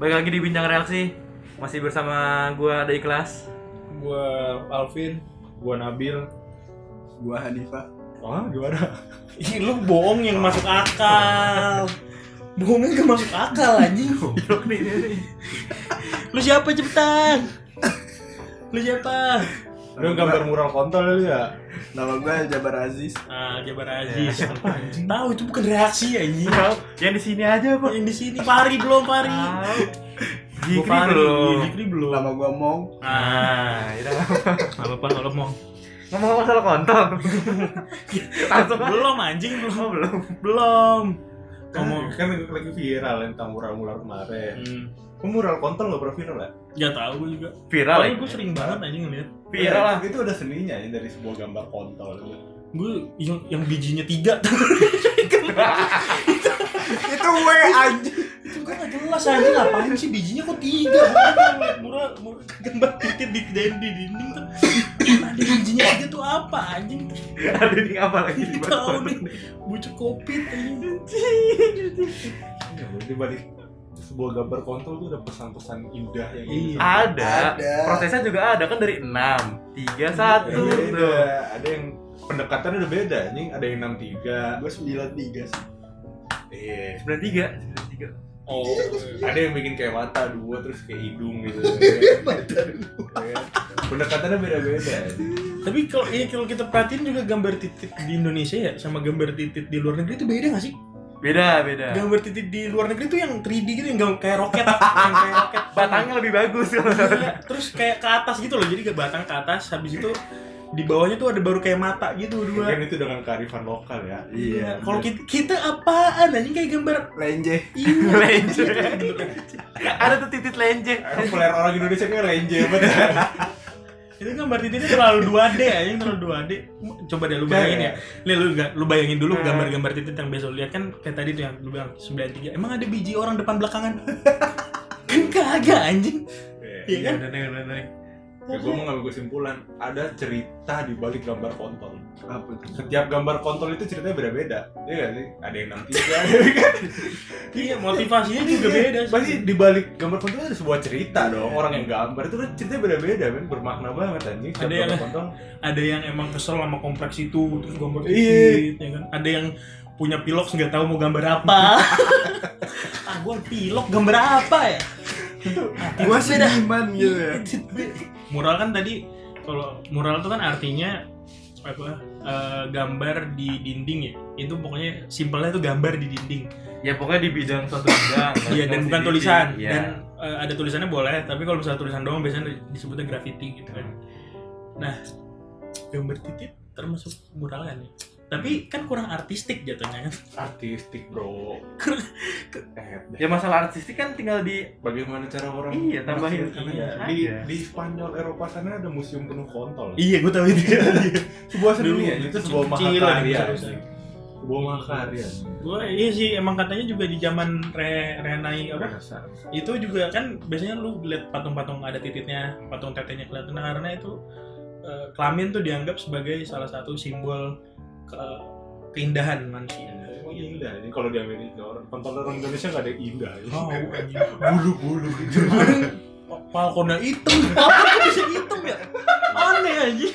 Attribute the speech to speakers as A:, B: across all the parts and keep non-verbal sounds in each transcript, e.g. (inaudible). A: lagi di Bincang Reaksi Masih bersama gua ada ikhlas
B: Gua Alvin, gua Nabil.
C: gua Hanifa
B: Wah,
A: (laughs)
B: gimana?
D: Ih, lu bohong yang masuk akal. Bohongnya gak masuk akal anjing.
A: Goblok nih dia nih.
D: Lu siapa cepetan? Lu siapa?
B: Lu gambar mural kontol lu ya?
C: nama gua Jabar Aziz
D: Ah, Jabar Aziz. Tahu itu bukan reaksi anjing.
A: Tahu, Yang di sini aja pak
D: Yang di sini pari belum pari.
A: Jikri
D: Gua pari,
A: belum
D: Jikri belum.
C: nama gua Mong
A: Nah,
D: Ah,
A: yaudah.
D: apa apa kalau mau.
A: Ngomong masalah kontol Langsung aja.
D: Belum anjing belum.
A: Oh, belum
D: Belum. Ngomong.
B: Kan, kan lagi viral yang tentang mural-mural kemarin.
D: Hmm.
B: Kok mural kontol lo pernah viral ya?
D: Gak tau gue juga.
A: Viral ya?
D: Tapi gue sering banget anjing ngeliat.
A: Viral lah
B: Itu udah seninya ya dari sebuah gambar kontol.
D: Gue yang, yang bijinya tiga.
C: itu gue anjing
D: itu kan gak jelas anjing ngapain sih bijinya kok tiga Bukan, murah murah gambar titik dikerjain di dinding tuh ada bijinya aja tuh apa anjing
B: Iya.
A: Ada di apa lagi di
D: Ini tahu nih bucuk kopi anjing
B: Ya, Di balik sebuah gambar kontol tuh ada pesan-pesan indah yang
D: Iya.
A: Ada
C: Ada. Iya,
A: Prosesnya juga ada kan dari 6 3, 1
B: Yang beda.
A: tuh.
B: Ada yang pendekatannya udah beda anjing, ada yang 63.
C: gua sembilan tiga sih
B: Iya.
A: 93
D: oh
B: Ada yang bikin kayak mata dua terus kayak hidung
D: (laughs)
B: gitu. Iya. Pendekatannya beda-beda. anjing.
D: tapi kalau iya, kalau kita perhatiin juga gambar titik di Indonesia ya sama gambar titik di luar negeri itu beda gak sih
A: Beda beda
D: gambar titik di luar negeri itu yang 3D gitu yang gam- kayak roket yang kayak roket
A: Batangnya lebih bagus kalau
D: Iya, terus kayak ke atas gitu loh jadi ke batang ke atas habis itu di bawahnya tuh ada baru kayak mata gitu dua
B: Mungkin Kan itu dengan kearifan lokal ya.
C: iya
D: Kalau kita, kita apaan anjing kayak gambar
C: (laughs) lenje
D: ini.
A: Lenje.
D: Gitu kan.
A: Iya. Ada tuh titik lenje
B: Emang player orang Indonesia kan lenje banget ya.
D: Itu gambar titiknya terlalu 2D anjing, terlalu 2D. Coba deh lu bayangin ya. Nih lu ga- lu bayangin dulu gambar-gambar titik yang biasa lu lihat kan kayak tadi tuh yang lu bilang 93. Emang ada biji orang depan belakangan? kan (laughs) kagak anjing. Iya kan?
A: Udah nih udah nih
B: Ya, gue mau ngambil kesimpulan, ada cerita di balik gambar kontol.
C: apa tuh
B: Setiap gambar kontol itu ceritanya beda-beda. Iya gak sih? Ada yang
D: (laughs)
B: nanti kan?
D: Iya, motivasinya juga beda. sih. Iya.
B: Pasti di balik gambar kontol itu ada sebuah cerita dong. Orang yang gambar itu kan ceritanya beda-beda, men. Bermakna banget anjing. Setiap
D: Ada yang-
B: gambar kontol.
D: Ada yang emang kesel sama kompleks itu, terus gambar
B: Iya.
D: titik, ya kan? Ada yang punya pilok nggak tahu mau gambar apa. (laughs) ah, gua pilok gambar apa ya?
C: gua sih iman gitu ya
D: mural kan tadi kalau mural tuh kan artinya apa eh, gambar di dinding ya itu pokoknya simpelnya tuh gambar di dinding
A: Ya pokoknya di bidang suatu bidang
D: iya dan bukan tulisan dan
A: Iya
D: eh, ada tulisannya boleh tapi kalau misalnya tulisan doang biasanya disebutnya graffiti gitu kan nah gambar titik termasuk mural kan ya tapi kan kurang artistik jatuhnya kan
B: Artistik, bro.
A: Ya
B: Eh,
A: masalah artistik kan tinggal di
B: Bagaimana cara orang
A: Iya, tambahin.
B: Iya. Di, di Spanyol Eropa sana ada museum penuh kontol.
D: iya gue tahu itu
B: sebuah
D: Dulu,
B: seni ya, itu sebuah
D: kecil lah,
B: mahakarya.
D: kecil.
B: anjing. Sebuah ya. mahakarya.
D: gue iya sih emang katanya juga di zaman re renai apa
B: Berasa.
D: itu juga kan biasanya lu lihat patung-patung ada titiknya patung tetenya kelihatan Nah, karena itu eh, kelamin tuh dianggap sebagai salah satu simbol ke- keindahan manusia
A: Iya,
D: Gitu.
B: Emang indah ini kalau di Amerika orang kontol orang Indonesia nggak ada yang indah ya.
D: Oh,
B: bulu-bulu gitu.
D: Falcona hitam, apa bisa hitam ya? Aneh aja.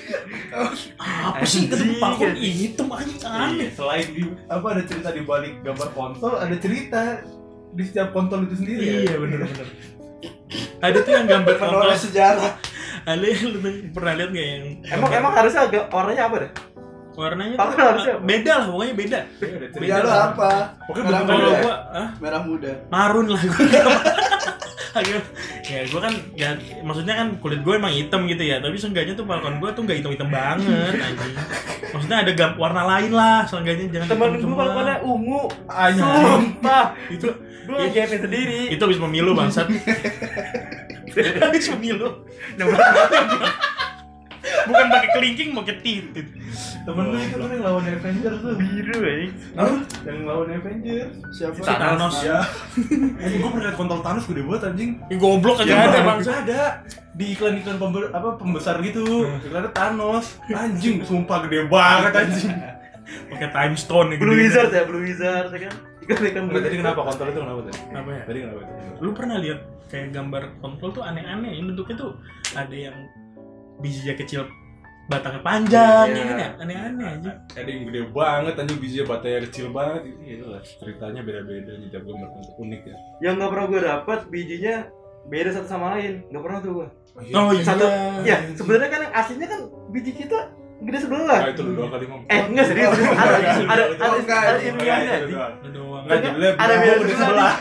D: Apa sih ketemu
A: Anjing,
D: falcon
A: anjing.
D: hitam anjing
B: Iya,
D: aneh.
B: selain di (laughs) apa ada cerita di balik gambar kontol, ada cerita di setiap kontol itu sendiri. ya?
D: Iya bener-bener. Ada tuh yang gambar kontol.
C: menoleh sejarah
D: Ada yang lu pernah lihat nggak yang
A: Emang emang harusnya agak warnanya apa deh?
D: warnanya
A: Falcon harusnya apa?
D: tuh beda lah pokoknya beda.
B: Iya, ada cerita.
C: ya lu apa
B: Pokoknya
C: Merah
B: bentuk
D: Kalau
C: muda.
B: kalau
D: gua, ah,
C: merah muda
D: marun lah (laughs) gue Agak- ya gue kan ya, maksudnya kan kulit gue emang hitam gitu ya tapi seenggaknya tuh falcon gue tuh nggak hitam hitam banget anjing maksudnya ada gam warna lain lah seenggaknya jangan
A: Temen
D: hitam-hitam
A: gue kalau
D: semua.
A: kena ungu
B: anjing.
A: Sumpah
D: itu
A: Gue ngejamin sendiri
D: itu habis pemilu bangsat Nah, habis pemilu bukan pakai kelingking pakai titit
B: Temen lu itu kan yang lawan Avengers tuh.
A: Biru ya
B: Yang lawan Avengers.
C: siapa
D: Si Thanos.
B: (laughs) Ya. Anjing gua pernah liat kontol Thanos gede banget anjing.
D: Ih, goblok aja
B: Ya,
D: ada
B: ada
D: bangsat
B: bangsa ada di iklan-iklan pembe- apa pembesar gitu. Iklannya Thanos. Anjing, sumpah gede banget anjing.
D: pakai time stone yang
A: Blue
D: gede.
A: Wizard ya Blue Wizard ya kan Ikan ikan
B: Enggak tadi kenapa kontol itu kenapa tadi?
D: apa ya
B: Tadi kenapa itu?
D: lu pernah lihat kayak gambar kontrol tuh aneh-aneh ini bentuknya tuh ada yang bijinya kecil batangnya panjang ya kan ya aneh-aneh aja
B: Ada yang gede banget, anjing bijinya batanya kecil banget. Ini lah ceritanya beda-beda nih tiap gambar untuk unik ya.
A: yang nggak pernah gue dapat bijinya beda satu sama lain nggak pernah tuh gue
D: oh iya
A: satu ya sebenarnya kan yang aslinya kan biji kita gede
B: Nah,
A: sebelah
B: itu lu doang kali ngomong.
A: eh enggak serius
C: Oh,
A: ada ada
C: enggak.
A: ada
C: Oh, enggak.
A: ada
B: Itu
A: ilmiahnya anjing.
B: doang.
D: Lu iya. doang
B: Enggak judulnya
A: ada
B: Bimo
A: beda
B: gede
A: sebelah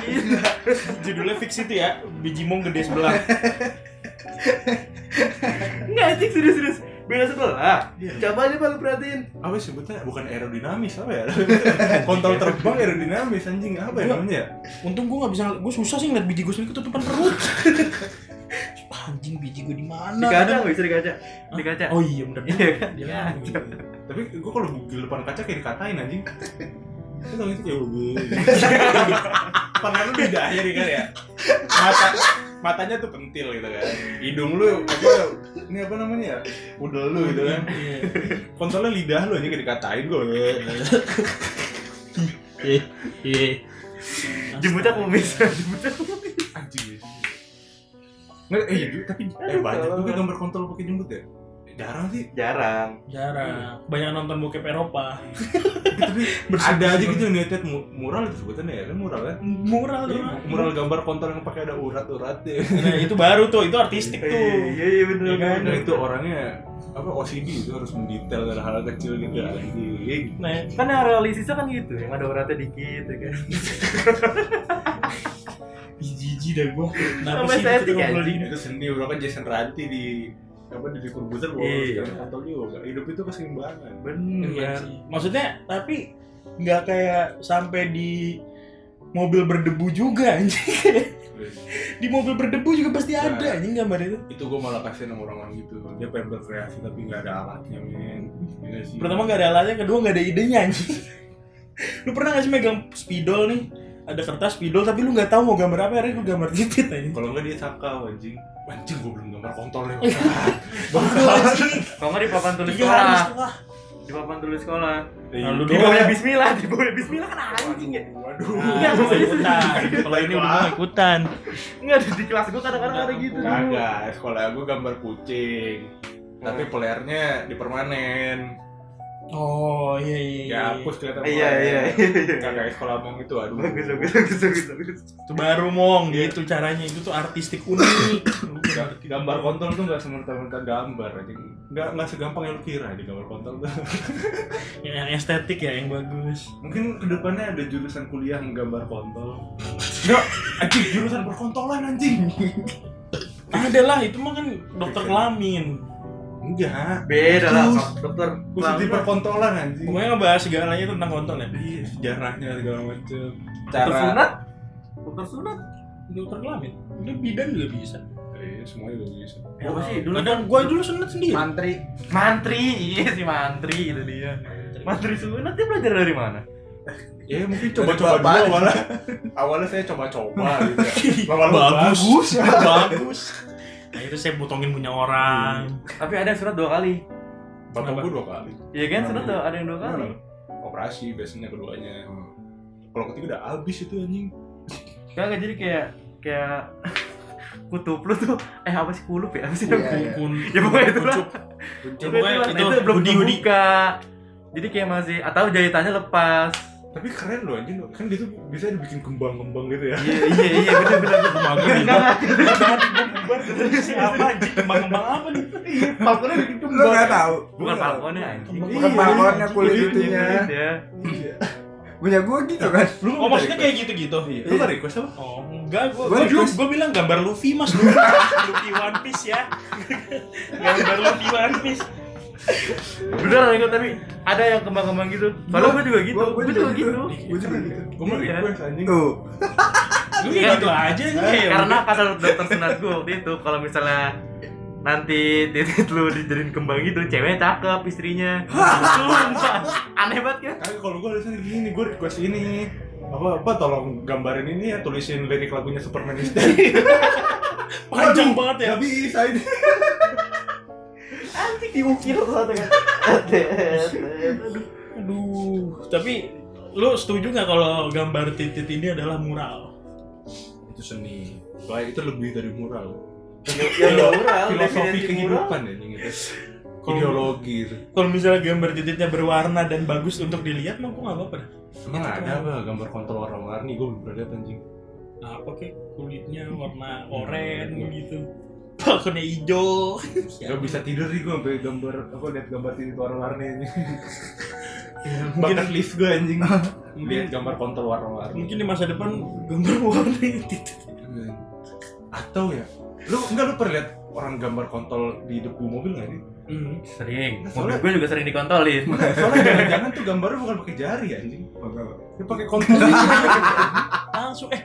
D: judulnya fix itu ya biji mong gede sebelah
A: enggak anjing serius serius beda sebelah
D: Iya.
A: coba aja pak lu perhatiin
B: Apa sih sebutnya? Bukan aerodinamis apa ya? Kontol terbang aerodinamis anjing apa ya namanya? ya?
D: (laughs) untung gue nggak bisa gue susah sih ngeliat biji gue sendiri ketutupan perut (laughs) anjing biji gue di mana
A: di kaca nggak bisa di kaca di kaca
D: Nah, oh iya bener
A: iya kan
D: Dia lagi.
B: Tapi gua kalau di depan kaca kayak dikatain anjing. Itu tau Ya itu kayak gue. Tangan lu di dahi nih kan ya. Mata matanya tuh pentil gitu kan. Hidung lu apa ini apa namanya ya? Udel lu gitu kan.
D: Iya.
B: Kontolnya lidah lu anjing kayak dikatain gue.
D: Iya. Iya.
A: jemputnya kumis jemputnya kumis
B: Anjing. Nggak, eh, iya, tapi eh, banyak juga gambar kontol pakai jembut ya. Jarang sih.
A: (laughs) jarang
D: Jarang. Banyak nonton bokep Eropa.
B: Tapi
D: Bersih-
B: ada aja gitu yang niatnya mu- mural itu sebutannya ya, kan mural kan?
D: Mural tuh.
B: Iya, mural gambar kontol yang pakai ada urat-uratnya.
D: Nah, itu baru tuh, itu artistik
A: iya
D: tuh.
A: iya, iya bener
D: Iya kan?
A: bener.
B: Nah itu orangnya apa OCD itu harus mendetail dari hal kecil gitu anjing.
D: Nah,
A: kan yang realistisnya kan gitu yang ada uratnya dikit ya kan
D: jijik dah gua.
A: Sama
D: Kenapa sih kita
A: estetik,
D: ngobrol gitu?
A: anjing.
D: gini?
B: Itu seni orang kan Jason Ranti di apa di Corbuzier gua
A: Iya.
B: sekarang kontol juga. Hidup itu keseimbangan.
D: Iya
A: bener
D: sih. Maksudnya, tapi nggak kayak sampai di mobil berdebu juga anjing. (laughs) di mobil berdebu juga pasti ada anjing gambar itu.
B: itu gua malah kasihan sama orang-orang gitu. Dia pengen berkreasi tapi nggak ada alatnya men. Iya sih.
D: Pertama nggak ada alatnya, kedua nggak ada idenya anjing. (laughs) lu pernah nggak sih megang spidol nih? Ada kertas spidol tapi lu nggak tahu mau gambar apa, akhirnya lu gambar titik aja.
B: kalau nggak dia sakau anjing. Anjing gua belum gambar ya. kontol (laughs) nih.
A: kalau nggak di papan tulis
D: Tiga hari
A: sekolah
D: setelah.
A: di papan tulis sekolah
B: Iya.
D: Lalu
A: di
B: ya.
A: bawahnya
B: (laughs)
A: bismillah di bawahnya bismillah kan anjing ya
B: Waduh.
A: Iya,
D: Nah,
A: serius.
D: ikutan. Kalau ini udah mau ikutan.
A: nggak di- di kelas gue kadang-kadang ada gitu
B: Kagak, Eh, sekolah gue gambar kucing. Tapi
A: Nah.
B: pelernya di permanen.
D: Oh iya iya. iya.
B: Ya hapus kelihatan
A: iya iya
B: pelernya.
A: iya iya.
B: Nggak kayak sekolah mong itu, aduh.
A: bagus bagus bagus bagus bagus
D: Itu baru mong gitu caranya itu tuh artistik unik. Lu
B: Ga- Gambar kontol tuh nggak semerta-merta gambar anjing. Nggak nggak segampang yang lu kira di gambar kontol tuh. (laughs)
D: yang estetik ya yang bagus.
B: Mungkin kedepannya ada jurusan kuliah menggambar kontol. Nggak, anjing jurusan perkontolan anjing.
D: Ada lah itu mah kan dokter kelamin.
B: Enggak.
A: beda lah
B: Bagus.
A: Pak. dokter
B: Khusus di perkontolan anjing.
D: Pokoknya ngebahas segalanya tentang kontol ya.
B: Iya, sejarahnya segala macem.
A: dokter
B: Cara
A: sunat dokter sunat
D: Dokter kelamin. Udah bidan juga bisa.
B: Iya, semuanya udah bisa.
A: Ya, apa sih dulu
D: Kadang gua dulu sunat sendiri.
C: Mantri.
A: mantri iya si mantri itu dia mantri sunat dia belajar dari mana
B: Ya mungkin
C: Dari
B: coba-coba
C: bapak.
B: dulu awalnya. Awalnya saya
D: (laughs)
B: coba-coba gitu. ya. (laughs) Lama-lama
D: Bagus.
B: bagus.
D: bagus. Akhirnya Nah, saya potongin punya orang.
A: tapi ada yang sunat dua kali
B: Bapak gue dua kali.
A: iya kan sunat tuh ada yang dua kali
B: Operasi biasanya keduanya.
D: Hmm.
B: Kalau ketiga udah habis itu anjing.
A: Kagak jadi kayak kayak (laughs) kutub lu tuh eh apa sih kulup ya apa sih
C: Iya,
A: namanya?
C: iya.
D: Kun,
A: Ya, pokoknya itulah.
D: kuncup.
A: Itu,
D: Pokoknya
A: itu,
D: itu
A: itu belum
D: hoodie, hoodie.
A: dibuka jadi kayak masih atau jahitannya lepas
B: Tapi keren loh anjing. Kan dia tuh bisa dibikin kembang-kembang gitu ya.
A: iya iya iya bener bener
D: Bagus.
A: enggak enggak
D: Siapa anjing kembang-kembang apa nih?
B: Falconnya bikin
C: Lu nggak tahu?
B: Iya.
A: bukan falconnya anjing
D: Bukan
C: Bukan
D: Iya,
C: balkonnya kulit
B: kulit
C: itunya.
A: ya
C: Punya gua gitu kan.
B: Lu
D: Oh maksudnya kayak gitu-gitu?
A: gitu?
B: Iya. Lu nggak request apa?
D: Oh, enggak, gua
C: Gua
D: gua,
C: request-
D: gua bilang gambar Luffy Mas, Luffy, Luffy One Piece ya. gambar Luffy One Piece.
A: bener enggak tapi ada yang kembang kembang gitu soalnya
C: Gua-
A: gue juga gitu
C: gua- gua
A: gue juga gitu
C: Gua juga gitu.
B: Gue mau
A: Iya.
B: request anjing.
C: Tuh.
D: Lu kayak gitu aja nih. kayak
A: Eh, karena kata dokter sunat gue waktu itu kalau misalnya nanti titik lu dijadiin kembang gitu ceweknya cakep istrinya Sumpah. aneh banget kan
B: Kagak kalau gue harusnya gini, gue request ini apa apa tolong gambarin ini ya tulisin lirik lagunya Superman is Dead.
C: (laughs)
D: panjang banget ya.
B: Gak bisa ini.
A: anjing diukir satu kan
D: Aduh, tapi lu setuju nggak kalau gambar titit ini adalah mural?
B: Itu seni. Wah itu lebih dari mural.
A: Ya udah mural,
B: Filosofi
A: definisi mural.
B: kehidupan ya gitu.
D: Kalau-
B: Ideologi.
D: Kalau misalnya gambar titiknya berwarna dan bagus untuk dilihat mah gue nggak apa-apa. dah.
B: Emang ada apa gambar kontol warna-warni? Gue belum pernah lihat anjing.
D: Apa kek kulitnya warna oranye gitu. Balkonnya hijau.
B: Gak bisa tidur nih gue sampai gambar apa lihat gambar titik warna-warni ini.
D: mungkin
B: Bahkan lift gue anjing. Lihat gambar kontol warna-warni.
D: mungkin di masa depan gambar (laughs) warna titik.
B: Atau ya, lu enggak lu pernah lihat orang gambar kontol di debu mobil nggak sih?
D: Hmm. (laughs)
A: Sering. Mobil
B: Soalnya-
A: gue juga sering dikontolin.
B: Soalnya jangan-jangan tuh gambarnya bukan pakai jari anjing. Dia pakai
D: (laughs)
B: kontol.
D: langsung eh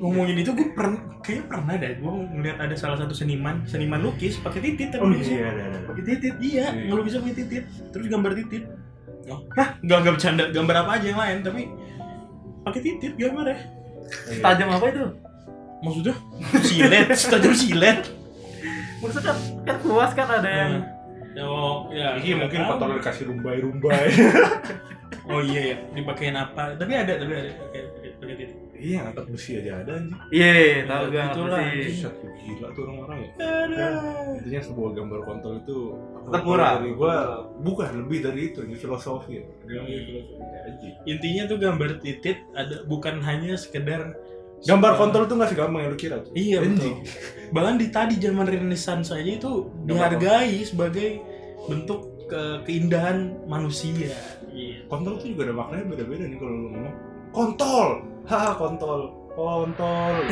D: ngomongin itu gue pernah kayaknya pernah deh gue ngeliat ada salah satu seniman seniman lukis pakai titit tapi lukisnya.
B: ada ada.
D: pakai titit Oh, iya
B: Iya.
D: ngelukisnya pakai titit terus gambar titit oh hah nggak nggak bercanda gambar apa aja yang lain tapi pakai titit gambar ya
A: Tajam apa itu?
D: maksudnya (laughs) silet tajam silet
A: Maksudnya kan, kan luas kan ada yang
D: ya, oh, ya,
B: Iya mungkin
D: nggak tahu.
B: kontol dikasih rumbai-rumbai.
D: oh iya ya dipakein apa tapi ada tapi ada pakai pakai- pakai titit
B: Iya ngangkat besi aja ada anjing.
A: Iya, tahu gue
D: Itulah,
A: ngerti.
D: anjing.
B: Buset, gila tuh orang-orang ya.
D: Aduh.
B: Intinya sebuah gambar kontol itu
A: Tetap murah.
B: Dari gua bukan lebih dari itu, ini filosofi. ya. Dia ngomongin filosofi aja.
D: intinya tuh gambar titit ada bukan hanya sekedar
B: Gambar kontol tuh nggak segampang yang lu kira. Cuk.
D: Iya
B: Anjing.
D: betul. Bahkan di tadi zaman Renaissance aja itu
B: Gambar
D: dihargai sebagai bentuk ke- keindahan manusia. Iya.
B: kontol tuh juga ada maknanya beda-beda nih kalau lu ngomong kontol haha kontol kontol